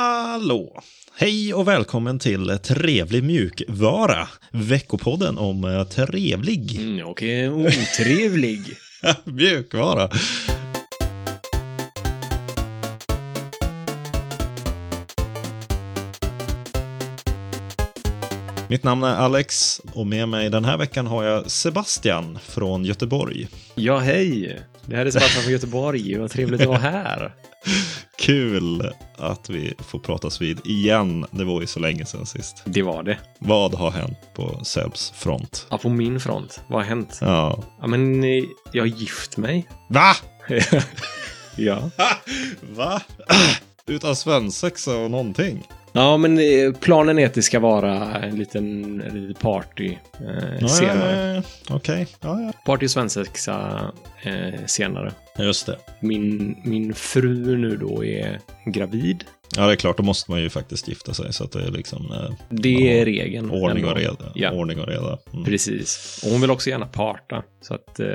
Hallå! Hej och välkommen till Trevlig mjukvara, veckopodden om eh, trevlig Mm, och är otrevlig. mjukvara. Mitt namn är Alex och med mig den här veckan har jag Sebastian från Göteborg. ja, hej! Det här är Sebastian från Göteborg. Vad trevligt att vara här. Kul att vi får pratas vid igen. Det var ju så länge sedan sist. Det var det. Vad har hänt på Sebs front? Ja, på min front. Vad har hänt? Ja. Ja, men eh, jag har gift mig. Va? ja. Va? Utan svensexa och någonting? Ja, men eh, planen är att det ska vara en liten, en liten party eh, Ja, senare. ja, ja. Okej, ja, ja. Party och svensexa eh, senare. Just det. Min, min fru nu då är gravid. Ja, det är klart, då måste man ju faktiskt gifta sig så att det är liksom eh, Det är regeln. ordning och ändå. reda. Ja. Ordning och reda. Mm. Precis. Och hon vill också gärna parta. Så att, eh,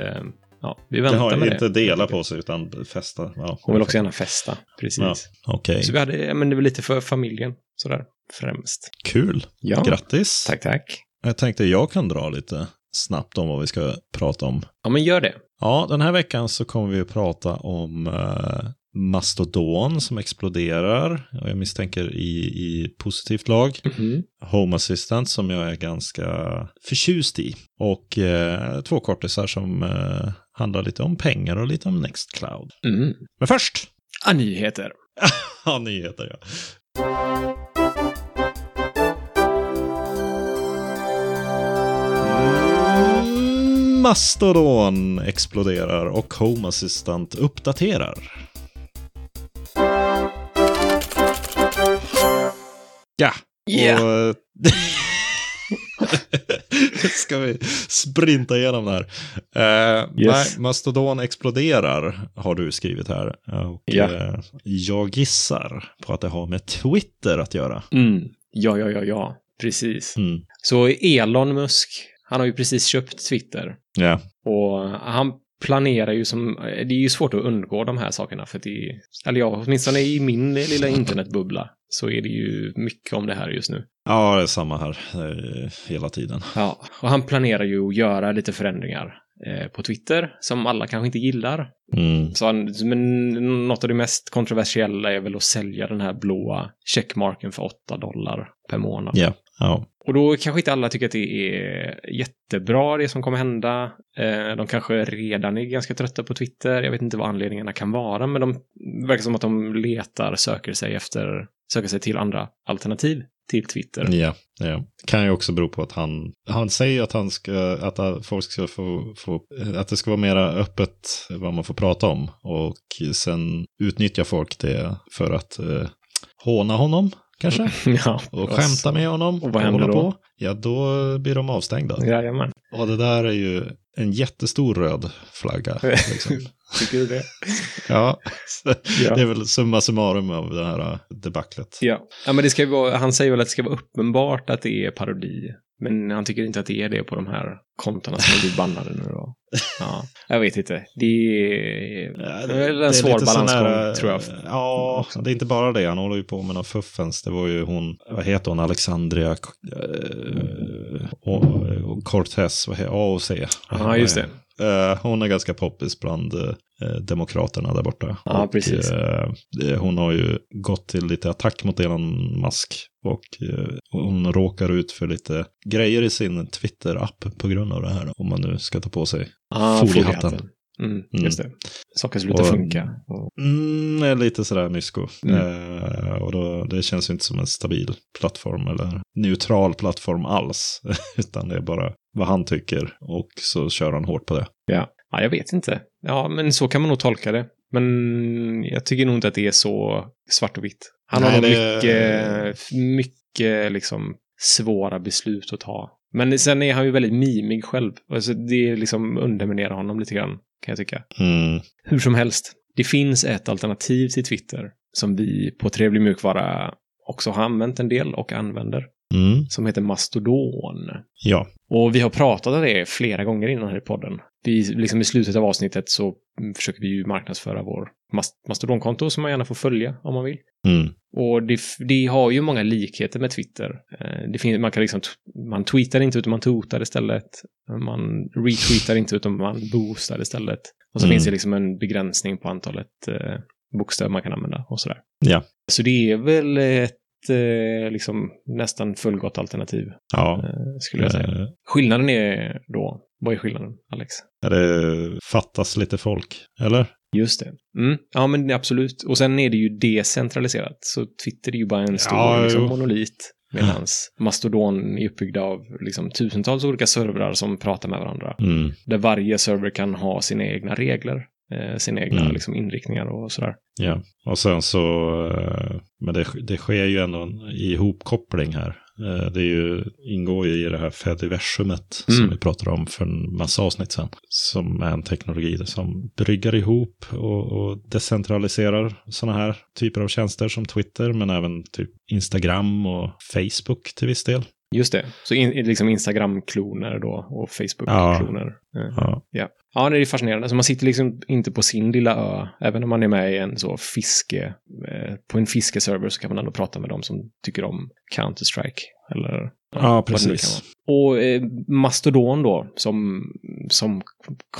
ja, vi Det väntar har med ju inte det. dela på sig utan festa. Ja. Hon vill också gärna festa. Precis. Ja. Okej, Så vi hade, ja, men det var lite för familjen. Sådär, främst. kul. Ja, Grattis. tack, tack. Jag tänkte jag kan dra lite snabbt om vad vi ska prata om. Ja, men gör det. Ja, den här veckan så kommer vi att prata om eh, Mastodon som exploderar. Och jag misstänker i, i positivt lag. Mhm. Home Assistant som jag är ganska förtjust i. Och eh, två kortisar som eh, handlar lite om pengar och lite om Nextcloud. Mm. Men först! Ah, nyheter. Ja, nyheter ja. Mm, Mastodon exploderar och Home Assistant uppdaterar. Ja, Yeah. och... eh, Ska vi sprinta igenom det här? Eh, Yes. nej, Mastodon exploderar, har du skrivit här. Och, Ja. eh, jag gissar på att det har med Twitter att göra. Mm. Ja, ja, ja, ja. Precis. Mm. Så Elon Musk, han har ju precis köpt Twitter. Ja. Och han planerar ju som, det är ju svårt att undgå de här sakerna för att det är, eller ja, åtminstone i min lilla internetbubbla så är det ju mycket om det här just nu. ja, det är samma här eh, hela tiden. Ja, och han planerar ju att göra lite förändringar eh, på Twitter som alla kanske inte gillar. Mm. Så han, men något av det mest kontroversiella är väl att sälja den här blåa checkmarken för 8 dollar per månad. Ja. Ja. Och då kanske inte alla tycker att det är jättebra det som kommer hända. Eh, De kanske redan är ganska trötta på Twitter. Jag vet inte vad anledningarna kan vara, men de verkar som att de letar, söker sig efter, söker sig till andra alternativ till Twitter. Ja, ja. Kan ju också bero på att han, han säger att, han ska, att han- folk ska få, få, att det ska vara mera öppet vad man får prata om. Och sen utnyttjar folk det för att eh, håna honom, kanske. Ja, Och skämta med honom. Och vad händer hålla då? På. Ja, då blir de avstängda. Jajamän. Och det där är ju en jättestor röd flagga. Liksom. Tycker du det? ja. Så Ja. Det är väl summa summarum av det här eh, debaclet. Ja. ja, men det ska ju vara, han säger väl att det ska vara uppenbart att det är parodi. Men han tycker inte att det är det på de här kontona som blir bannade nu då. Ja, jag vet inte. Det är, Ja, det är väl en svår lite sån balansgång, här, eh, tror jag. Ja, det är inte bara det. Han håller ju på med någon fuffens. Det var ju hon, vad heter hon, Alexandria eh, och, och Cortez, vad heter AOC. Ja, just det. Eh, Hon är ganska poppis bland eh, demokraterna där borta. Ja, Och, precis. eh, det- Hon har ju gått till lite attack mot Elon Musk. Och eh, hon råkar ut för lite grejer i sin Twitter-app på grund av det här. Om man nu ska ta på sig Ah, Foliehatten. foliehatten. Mm, just det. Saker slutar Och- funka. Mm, är lite sådär mysko. Mm. Eh, och då, det känns ju inte som en stabil plattform eller neutral plattform alls. Utan det är bara vad han tycker och så kör han hårt på det. Ja. ja, jag vet inte. Ja, men så kan man nog tolka det. Men jag tycker nog inte att det är så svart och vitt. Han Nej, har nog det- mycket, mycket liksom svåra beslut att ta. Men sen är han ju väldigt mimig själv. Alltså det liksom underminerar honom lite grann, kan jag tycka. Mm. Hur som helst, det finns ett alternativ till Twitter som vi på Trevlig Mjukvara också har använt en del och använder, Mm. som heter Mastodon. Ja. Och vi har pratat om det flera gånger innan här i podden. Vi, liksom I slutet av avsnittet så mm, försöker vi ju marknadsföra vår mas- mastodonkonto som man gärna får följa om man vill. Mm. Och det, det har ju många likheter med Twitter. Eh, Det finns, man, kan liksom, t- man tweetar inte utan man totar istället. Man retweetar inte utan man boostar istället. Och så Mm. finns det liksom en begränsning på antalet eh, bokstäver man kan använda och sådär. Ja. Så det är väl ett eh, liksom, nästan fullgott alternativ, Ja. eh, skulle jag säga. Skillnaden är då, vad är skillnaden, Alex? Eh, Det fattas lite folk, eller? Just det. Mm. Ja, men absolut. Och sen är det ju decentraliserat, så Twitter är ju bara en stor Ja, liksom, jo. monolit. Medan Mastodon är uppbyggd av liksom, tusentals olika servrar som pratar med varandra. Mm. Där varje server kan ha sina egna regler, eh, sina egna Mm. liksom, inriktningar och sådär. Ja, och sen så, eh, men det, det sker ju ändå en ihopkoppling här. Eh, Det är ju, ingår ju i det här Fediversumet som Mm. vi pratade om för en massa avsnitt sedan. Som är en teknologi där som bryggar ihop och, och decentraliserar sådana här typer av tjänster som Twitter, men även typ Instagram och Facebook till viss del. Just det. Så in, liksom Instagram-kloner då och Facebook-kloner. Eh. Ja, Ja, det är fascinerande. Så man sitter liksom inte på sin lilla ö. Även om man är med i en så fiske, eh, på en fiskeserver så kan man ändå prata med dem som tycker om Counter-Strike. Eller ja vad det nu precis. kan vara. Och eh, Mastodon då, som, som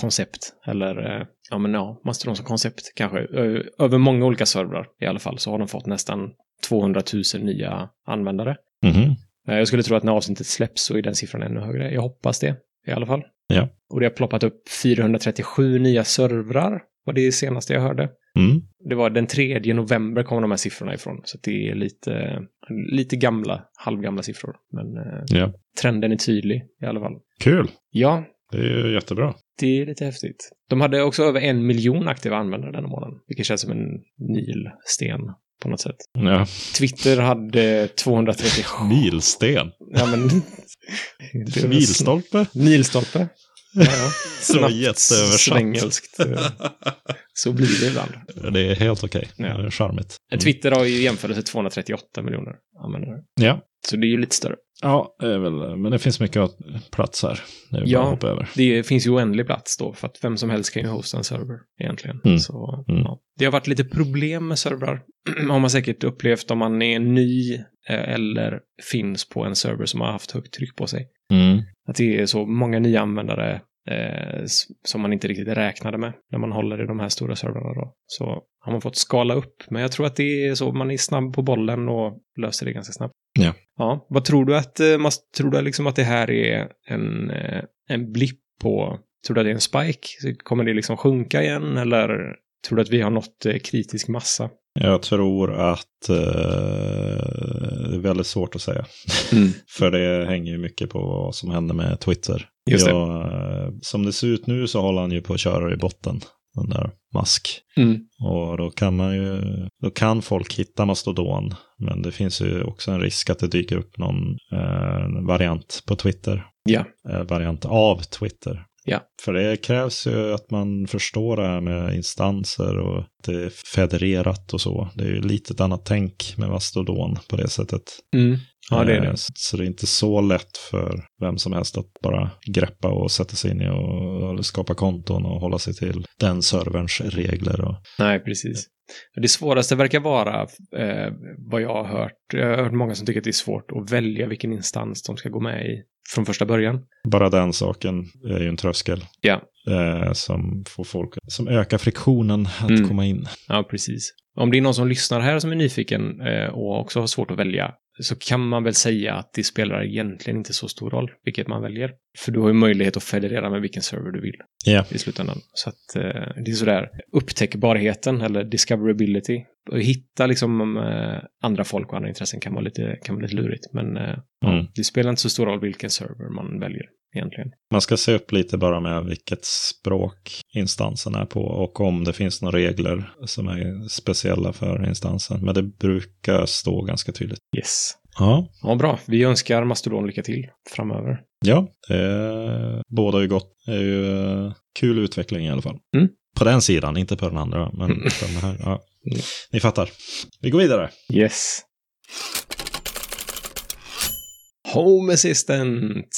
koncept. Eller eh, ja, men ja, Mastodon som koncept kanske. Ö- Över många olika servrar i alla fall så har de fått nästan 200 000 nya användare. Mhm. Eh, Jag skulle tro att när avsnittet släpps så är den siffran ännu högre. Jag hoppas det i alla fall. Ja. Och det har ploppat upp 437 nya servrar, var det senaste jag hörde. Mm. Det var den 3 november kom de här siffrorna ifrån, så att det är lite, lite gamla, halvgamla siffror. Men eh, Ja. trenden är tydlig i alla fall. Kul, Ja, det är ju jättebra. det är lite häftigt. De hade också över en miljon aktiva användare denna månaden, vilket känns som en milsten på något sätt. Ja. Twitter hade 237... Milsten, Ja, men... milstolpe. Milstolpe. Ja, ja. Så Snabbt jätteöversatt. Svängelskt. Så blir det ibland. Det är helt okej. Ja. Det är charmigt. Mm. Twitter har ju i jämförelse 238 miljoner användare. Ja. Så det är ju lite större. Ja, det är väl, men det finns mycket plats här. Det är Ja. bara att hoppa över. Det finns ju oändlig plats då, för att vem som helst kan ju hosta en server egentligen. Mm. Så, Mm. Ja. Det har varit lite problem med servrar. har man säkert upplevt om man är ny eh, eller finns på en server som har haft högt tryck på sig. Att det är så många nya användare eh, s- som man inte riktigt räknade med när man håller i de här stora servrarna. Då. Så har man fått skala upp. Men jag tror att det är så, man är snabb på bollen och löser det ganska snabbt. Ja. ja vad tror du att, eh, mas- tror du liksom att det här är en, eh, en blipp på, tror du att det är en spike? Så Kommer det liksom sjunka igen eller tror du att vi har nått eh, kritisk massa? Jag tror att eh, det är väldigt svårt att säga. För det hänger ju mycket på vad som händer med Twitter. Just det. Jag, eh, som det ser ut nu så håller han ju på att köra i botten, den där mask. Mm. Och då kan man ju, då kan folk hitta mastodon. Men det finns ju också en risk att det dyker upp någon eh, variant på Twitter. Ja. Eh, variant av Twitter. Ja. För det krävs ju att man förstår det här med instanser och att det är federerat och så. Det är ju lite ett annat tänk med mastodon på det sättet. Mm. Ja, det är det. Eh, Så så det är inte så lätt för vem som helst att bara greppa och sätta sig in i och och skapa konton och hålla sig till den serverns regler. Och, Nej, precis. Det svåraste verkar vara, eh, vad jag har hört, jag har hört många som tycker att det är svårt att välja vilken instans de ska gå med i från första början. Bara den saken är ju en tröskel. Ja. Eh, som får folk, som ökar friktionen att Mm. komma in. Ja, precis. Om det är någon som lyssnar här som är nyfiken eh, och också har svårt att välja så kan man väl säga att det spelar egentligen inte så stor roll vilket man väljer. För du har ju möjlighet att federera med vilken server du vill Ja. i slutändan. Så att eh, det är sådär upptäckbarheten eller discoverability. Och hitta liksom eh, andra folk och andra intressen kan vara lite, kan vara lite lurigt. Men eh, Mm. Det spelar inte så stor roll vilken server man väljer egentligen. Man ska se upp lite bara med vilket språk instansen är på och om det finns några regler som är speciella för instansen. Men det brukar stå ganska tydligt. Yes. Ja, Ja, bra. Vi önskar Mastodon lycka till framöver. ja. Eh, båda är ju gott. Det är ju eh, kul utveckling i alla fall. Mm. På den sidan, inte på den andra. Men Mm. på den här, ja. Mm. Ni fattar. Vi går vidare. Yes. Home Assistant.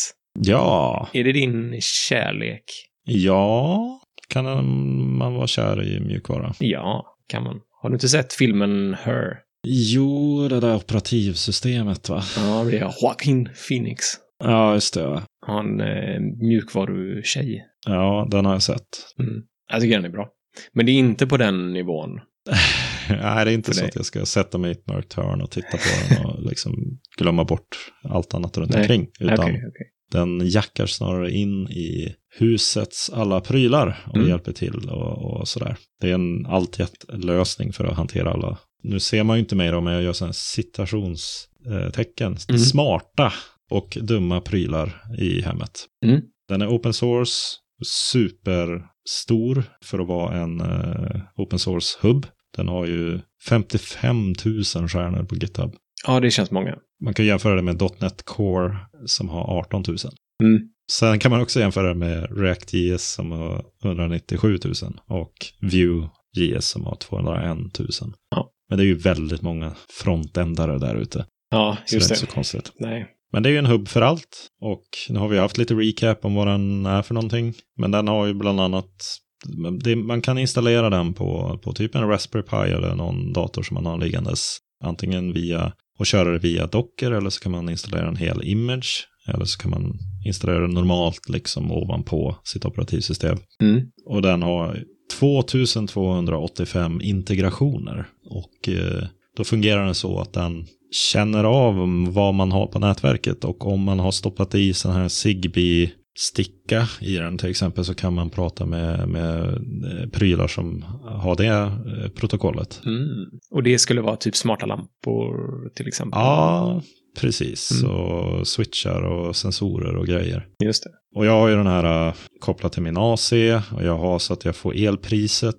Ja, Är det din kärlek? Ja, kan en- man vara kär i mjukvara? Ja, kan man. Har du inte sett filmen Her? Jo, det där operativsystemet va? Ja, det är Joaquin Phoenix. Ja, just det. Han eh, mjukvarutjej. Ja, den har jag sett. Jag tycker den är bra. Men det är inte på den nivån. Nej, det är inte För så dig. att jag ska sätta mig i ett mörkt hörn och titta på den och liksom glömma bort allt annat runt Nej. omkring. Utan Okej, okej. den jackar snarare in i husets alla prylar och Mm. hjälper till och, och sådär. Det är en alltjätt-lösning för att hantera alla. Nu ser man ju inte mig då, men jag gör sådana citationstecken. Mm. Smarta och dumma prylar i hemmet. Mm. Den är open source, superstor för att vara en eh, open source-hubb. Den har ju 55 000 stjärnor på GitHub. Ja, det känns många. Man kan jämföra det med .NET Core som har 18 000. Mm. Sen kan man också jämföra det med React.js som har 197 000 och Vue.js som har 201 000. Ja. Men det är ju väldigt många frontändare där ute. Ja, Så just det är det. inte så konstigt. Nej. Men det är ju en hubb för allt. Och nu har vi haft lite recap om vad den är för någonting. Men den har ju bland annat det, man kan installera den på, på typ en Raspberry Pi eller någon dator som man har liggandes. Antingen via och köra det via Docker eller så kan man installera en hel image. Eller så kan man installera det normalt liksom ovanpå sitt operativsystem. Mm. Och den har 2285 integrationer. Och eh, då fungerar den så att den känner av vad man har på nätverket. Och om man har stoppat i sån här Zigbee-sticka i den till exempel så kan man prata med, med eh, prylar som har det eh, protokollet. Mm. Och det skulle vara typ smarta lampor till exempel. Ja, precis. Mm. Och switchar och sensorer och grejer. Just det. Och jag har ju den här äh, kopplad till min AC och jag har så att jag får elpriset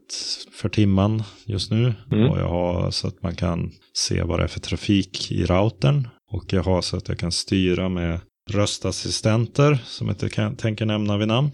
för timman just nu. Mm. Och jag har så att man kan se vad det är för trafik i routern. Och jag har så att jag kan styra med röstassistenter som jag inte kan, tänker nämna vid namn.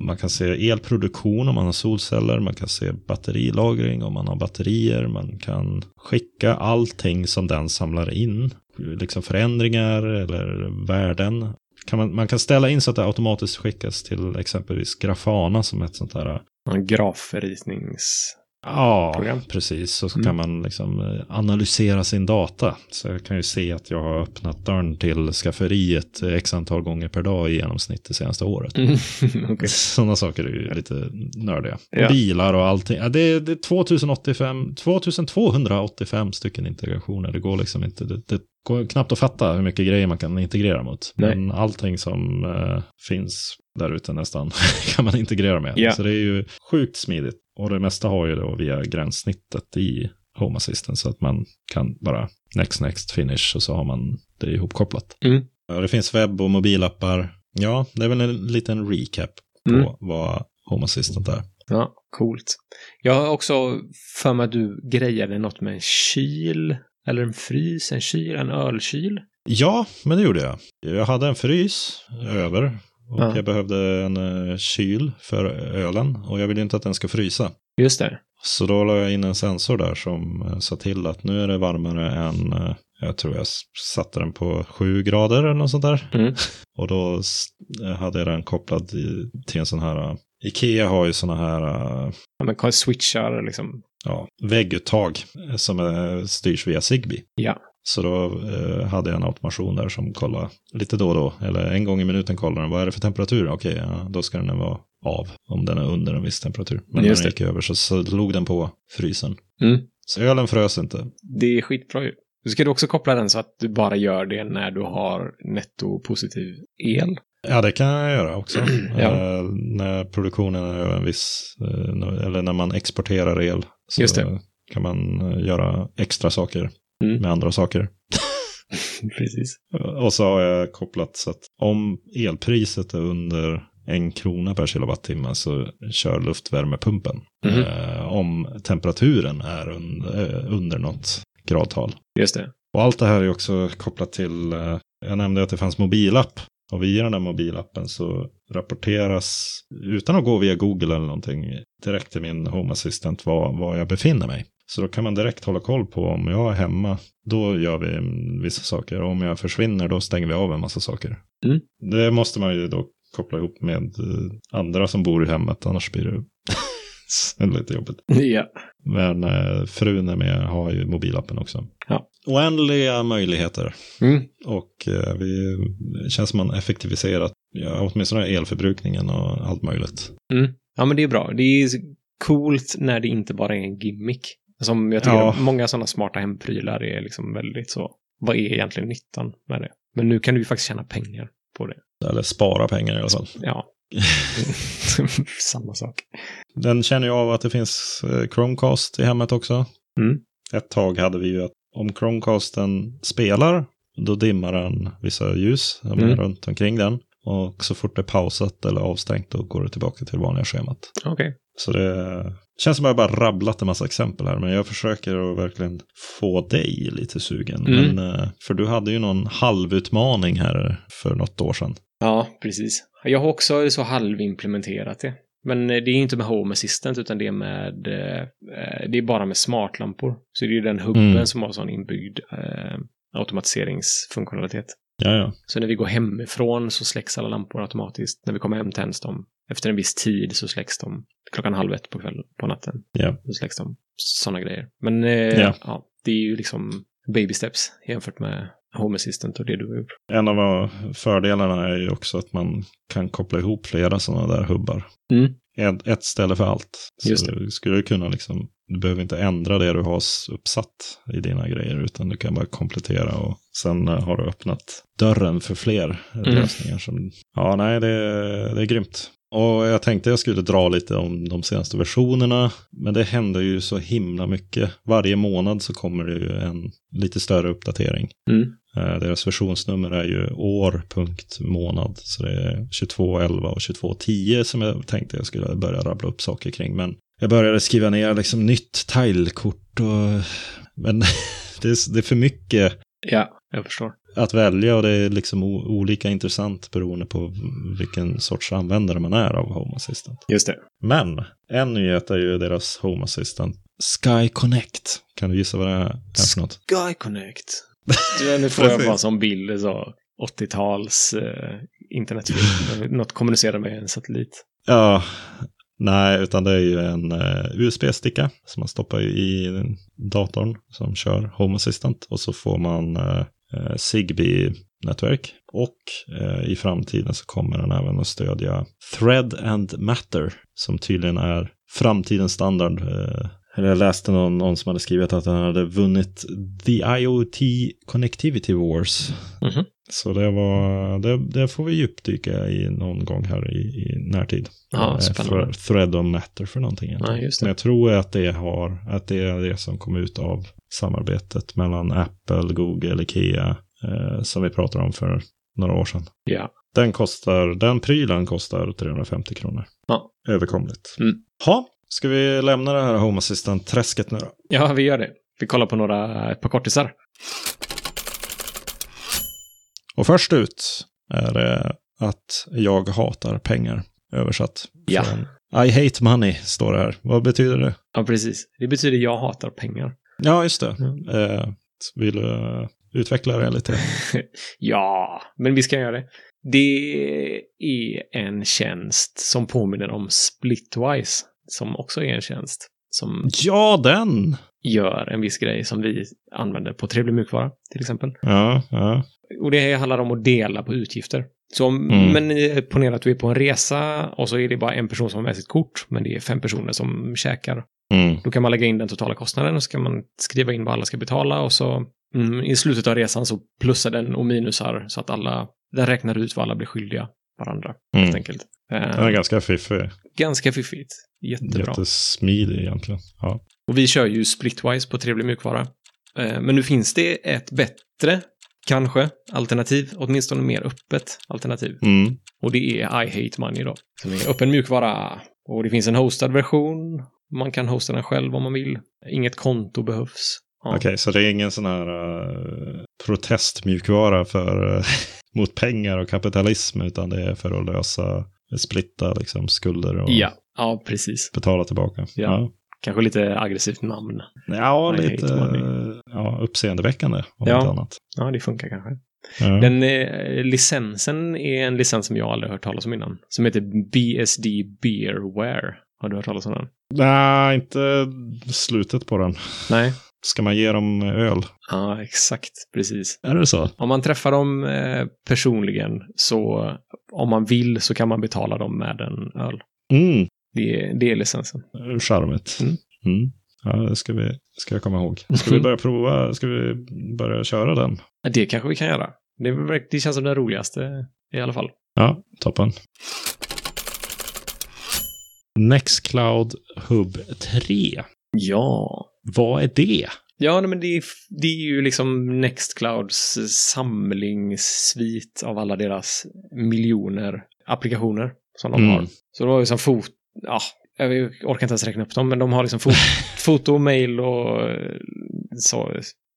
Man kan se elproduktion om man har solceller, man kan se batterilagring om man har batterier, man kan skicka allting som den samlar in, liksom förändringar eller värden kan man, man kan ställa in så att det automatiskt skickas till exempelvis Grafana som ett sånt där. En grafritnings... Ja, Program. ah, precis. Så Mm. kan man liksom eh, analysera sin data. Så jag kan ju se att jag har öppnat dörren till skafferiet eh, x antal gånger per dag i genomsnitt det senaste året. Mm. Okej. Sådana saker är ju lite nördiga. Ja. Bilar och allting. Ja, det, är, det är 2085, 2285 stycken integrationer. Det går liksom inte. Det, det går knappt att fatta hur mycket grejer man kan integrera mot. Nej. Men allting som eh, finns där ute nästan kan man integrera med. Ja. Så det är ju sjukt smidigt. Och det mesta har ju då via gränssnittet i Home Assistant så att man kan bara next, next, finish och så har man det ihopkopplat. Mm. Ja, det finns webb och mobilappar. Ja, det är väl en liten recap på Mm. vad Home Assistant är. Ja, coolt. Jag har också för mig att du grejade något med en kyl. Eller en frys, en kyl, en ölkyl. Ja, men det gjorde jag. Jag hade en frys över och Ja. jag behövde en eh, kyl för ölen och jag vill ju inte att den ska frysa. Just det. Så då la jag in en sensor där som eh, sa till att nu är det varmare än, eh, jag tror jag s- satte den på 7 grader eller något sånt där. Mm. Och då s- hade jag den kopplad i- till en sån här, eh, Ikea har ju såna här eh, Ja, men kan- switchar liksom. ja, vägguttag eh, som eh, styrs via Zigbee. Ja. Så då eh, hade jag en automation där som kollade lite då och då, eller en gång i minuten kollade den, vad är det för temperatur? Okej, ja, då ska den vara av om den är under en viss temperatur. Men när Just den gick över så slog den på frysen. Mm. Så ölen frös inte. Det är skitbra ju. Du ska du också koppla den så att du bara gör det när du har nettopositiv el. Ja, det kan jag göra också. Ja. Eh, när produktionen är över en viss, eh, eller när man exporterar el, så Just det. kan man eh, göra extra saker Mm. med andra saker. Precis. Och så har jag kopplat så att om elpriset är under en krona per kilowattimme så kör luftvärmepumpen. Mhm. Eh, om temperaturen är under, eh, under något gradtal. Just det. Och allt det här är ju också kopplat till, eh, jag nämnde att det fanns mobilapp. Och via den här mobilappen så rapporteras, utan att gå via Google eller någonting, direkt till min Home Assistant var, var jag befinner mig. Så då kan man direkt hålla koll på om jag är hemma, då gör vi mm, vissa saker. Och om jag försvinner, då stänger vi av en massa saker. Mm. Det måste man ju då koppla ihop med eh, andra som bor i hemmet, annars blir det Så det är lite jobbigt. Ja. Men eh, frun är med, har ju mobilappen också. Ja. Oändliga möjligheter. Mm. Och eh, vi, det känns som man effektiviserat, ja, åtminstone elförbrukningen och allt möjligt. Mm. ja, men det är bra. Det är coolt när det inte bara är en gimmick. Som jag tycker Ja. många sådana smarta hemprylar är liksom väldigt så. Vad är egentligen nyttan med det? Men nu kan du ju faktiskt tjäna pengar på det. Eller spara pengar i alla fall. Ja. Samma sak. Den känner jag av att det finns eh, Chromecast i hemmet också. Mm. Ett tag hade vi ju att om Chromecasten spelar, då dimmar den vissa ljus som är Mm. runt omkring den. Och så fort det är pausat eller avstängt, då går det tillbaka till det vanliga schemat. Okej. Så det känns som att jag bara rabblat en massa exempel här, men jag försöker att verkligen få dig lite sugen. Mm. Men, eh, för du hade ju någon halvutmaning här för något år sedan. Ja, precis. Jag har också så halvimplementerat det. Men eh, det är inte med Home Assistant utan det är med eh, eh, det är bara med smartlampor. Så det är ju den hubben Mm. som har sån inbyggd eh, automatiseringsfunktionalitet. Ja, ja. Så när vi går hemifrån så släcks alla lampor automatiskt. När vi kommer hem tänds de. Efter en viss tid så släcks de. Klockan halv ett på kvällen, på natten. Ja. Så släcks de. Sådana grejer. Men eh, Ja. ja, det är ju liksom baby steps jämfört med Home Assistant och det du har gjort. En av fördelarna är ju också att man kan koppla ihop flera sådana där hubbar. Mm. Ett, ett ställe för allt. Så Just det. du skulle kunna liksom, du behöver inte ändra det du har s- uppsatt i dina grejer, utan du kan bara komplettera och sen eh, har du öppnat dörren för fler eh, Mm. lösningar. Som, ja, nej, det, det är grymt. Och jag tänkte jag skulle dra lite om de senaste versionerna, men det händer ju så himla mycket. Varje månad så kommer det ju en lite större uppdatering. Eh, Deras versionsnummer är ju år.månad, så det är 2211 och 2210 som jag tänkte jag skulle börja rabbla upp saker kring. Men jag började skriva ner liksom nytt tilekort och... Men det är, det är för mycket Ja, jag förstår. att välja och det är liksom o- olika intressant beroende på vilken sorts användare man är av Home Assistant. Just det. Men en nyhet är ju deras Home Assistant Sky Connect. Kan du gissa vad det är för något? Sky Connect. Du, nu får jag Precis. bara som bild så 80-tals eh, internetfilm. Något kommunicerar med en satellit. Ja, nej, utan det är ju en eh, USB-sticka som man stoppar i datorn som kör Home Assistant och så får man eh, eh, Zigbee-nätverk. Och eh, i framtiden så kommer den även att stödja Thread and Matter som tydligen är framtidens standard. Eh, eller jag läste någon, någon som hade skrivit att han hade vunnit The IoT Connectivity Wars. Mhm. Så det, var, det, det får vi djupdyka i någon gång här i, i närtid. Ja, Eh, spännande. thre- Thread och Matter för någonting. Ja, just det. Men jag tror att det, har, att det är det som kom ut av samarbetet mellan Apple, Google, Ikea eh, som vi pratade om för några år sedan. Ja. Den, kostar, den prylen kostar 350 kronor. Ja. Överkomligt. Mm. Ha, ska vi lämna det här Home Assistant-träsket nu då? Ja, vi gör det. Vi kollar på några, ett par kortisar. Och först ut är det att jag hatar pengar, översatt. Ja. Från I hate money, står det här. Vad betyder det? Ja, precis. Det betyder jag hatar pengar. Ja, just det. Mm. Eh, vill du eh, utveckla det lite? Ja, men vi ska göra det. Det är en tjänst som påminner om Splitwise, som också är en tjänst som Ja, den! gör en viss grej som vi använder på Trevlig mjukvara, till exempel. Ja, ja. Och det handlar om att dela på utgifter. Så om, Mm. men eh, ponera att du är på en resa och så är det bara en person som har med sitt kort, men det är fem personer som käkar. Mm. Då kan man lägga in den totala kostnaden och så kan man skriva in vad alla ska betala och så mm, i slutet av resan så plussar den och minusar så att alla, den räknar ut vad alla blir skyldiga varandra helt Mm. enkelt. Eh, Den är ganska fiffig. Ganska fiffigt. Jättebra. Jättesmidig egentligen. Ja. Och vi kör ju Splitwise på Trevlig mjukvara. Eh, Men nu finns det ett bättre, kanske, alternativ. Åtminstone mer öppet alternativ. Mm. Och det är I Hate Money då, som är öppen mjukvara. Och det finns en hostad version. Man kan hosta den själv om man vill. Inget konto behövs. Ja. Okej, så det är ingen sån här eh, protestmjukvara för, eh, mot pengar och kapitalism, utan det är för att lösa, splitta liksom, skulder och Ja, ja, precis. betala tillbaka. Ja. Kanske lite aggressivt namn. Ja, ja I lite hate eh, ja, uppseendeväckande om Ja. inte annat. Ja, det funkar kanske. Ja. Den eh, licensen är en licens som jag aldrig hört talas om innan. Som heter BSD Beerware. Har du hört talas om den? Nej, inte slutet på den. Nej. Ska man ge dem öl? Ja, exakt. Precis. Är det så? Om man träffar dem eh, personligen så om man vill så kan man betala dem med en öl. Mm, Det är, det är licensen. charmigt. Mm. Mm. Ja, det ska, vi, ska jag komma ihåg. Ska vi börja prova? Ska vi börja köra den? Det kanske vi kan göra. Det, verk- det känns som den roligaste i alla fall. Ja, toppen. Nextcloud Hub 3. Ja. Vad är det? Ja, nej, men det är, det är ju liksom Nextclouds samlingssvit av alla deras miljoner applikationer som de Mm. har. Så det var ju som fot... Ja, jag orkar inte ens räkna upp dem, men de har liksom fot, foto, mail och eh, så,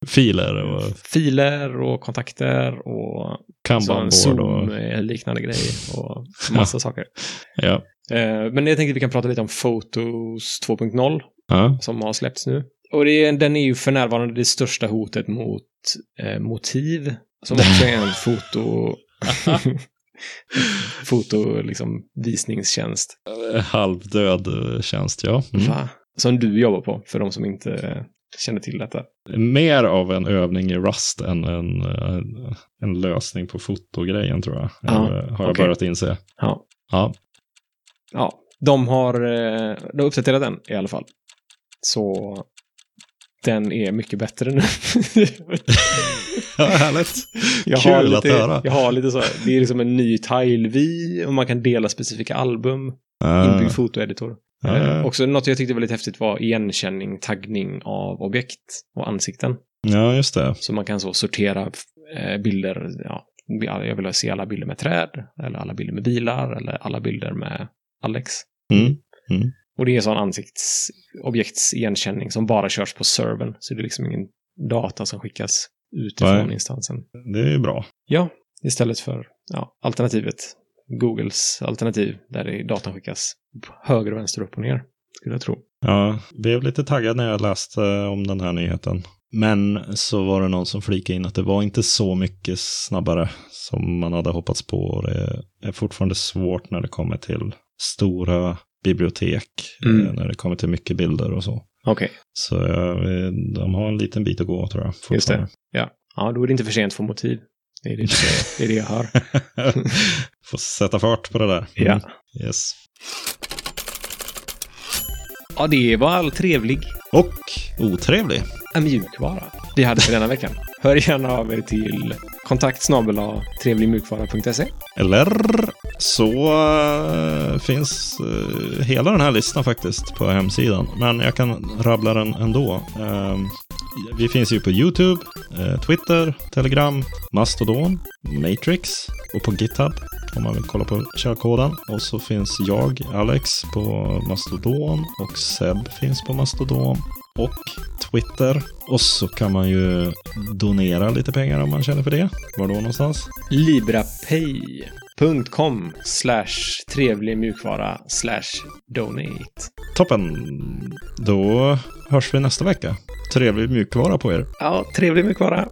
Filer och filer och kontakter och så en kanbanbord och... Zoom-liknande grejer och massa saker. Ja. Eh, Men jag tänkte att vi kan prata lite om Photos 2.0 Ja. som har släppts nu. Och det, är- den är ju för närvarande det största hotet mot eh, motiv, som också är en foto... foto, liksom, visningstjänst. Halvdöd eh, tjänst, ja. Mm. Va? Som du jobbar på, för de som inte eh, känner till detta. Mer av en övning i Rust än en, eh, en lösning på fotogrejen, tror jag. Ja, Eh, har jag okej. börjat inse. Ja. Ja. Ja, de har, eh, de har uppdaterat den i alla fall. Så den är mycket bättre nu. Ja, härligt. Jag Kul har lite, att höra. Jag har lite så här, det är liksom en ny tile-vy och man kan dela specifika album, Ah, inbyggd fotoeditor. ja, Eh, ja. också något jag tyckte var lite häftigt var igenkänning, taggning av objekt och ansikten. ja, just det. Så man kan så sortera eh, bilder, ja, jag vill se alla bilder med träd, eller alla bilder med bilar, eller alla bilder med Alex. Mm. Och det är sån ansiktsobjektsigenkänning som bara körs på servern, så det är liksom ingen data som skickas utifrån Nej. instansen. Det är ju bra. Ja, istället för ja, alternativet. Googles alternativ där det- datan skickas höger och vänster, upp och ner. Skulle jag tro. Ja, blev lite taggad när jag läste eh, om den här nyheten. Men så var det någon som flikade in att det var inte så mycket snabbare som man hade hoppats på. Och Det är fortfarande svårt när det kommer till stora bibliotek, Mm. eh, när det kommer till mycket bilder och så. Okej. Så eh, de har en liten bit att gå tror jag. Just det. fortfarande. Ja, då är det inte för sent för motiv. Det är det, det, är det jag hör. Får sätta fart på det där. Ja. Mm. Yes. ja, det var all trevlig Och otrevlig. en mjukvara vi hade för denna veckan. Hör gärna av er till kontakt trevligmjukvara.se. Eller så eh, finns eh, hela den här listan faktiskt på hemsidan. Men jag kan rabbla den ändå. Ehm, vi finns ju på YouTube, eh, Twitter, Telegram, Mastodon, Matrix och på GitHub om man vill kolla på källkoden. Och så finns jag, Alex, på Mastodon och Seb finns på Mastodon och Twitter. Och så kan man ju donera lite pengar om man känner för det. Var då någonstans? librapay.com slash trevligmjukvara slash donate. Toppen! Då hörs vi nästa vecka. Trevlig mjukvara på er. Ja, trevlig mjukvara.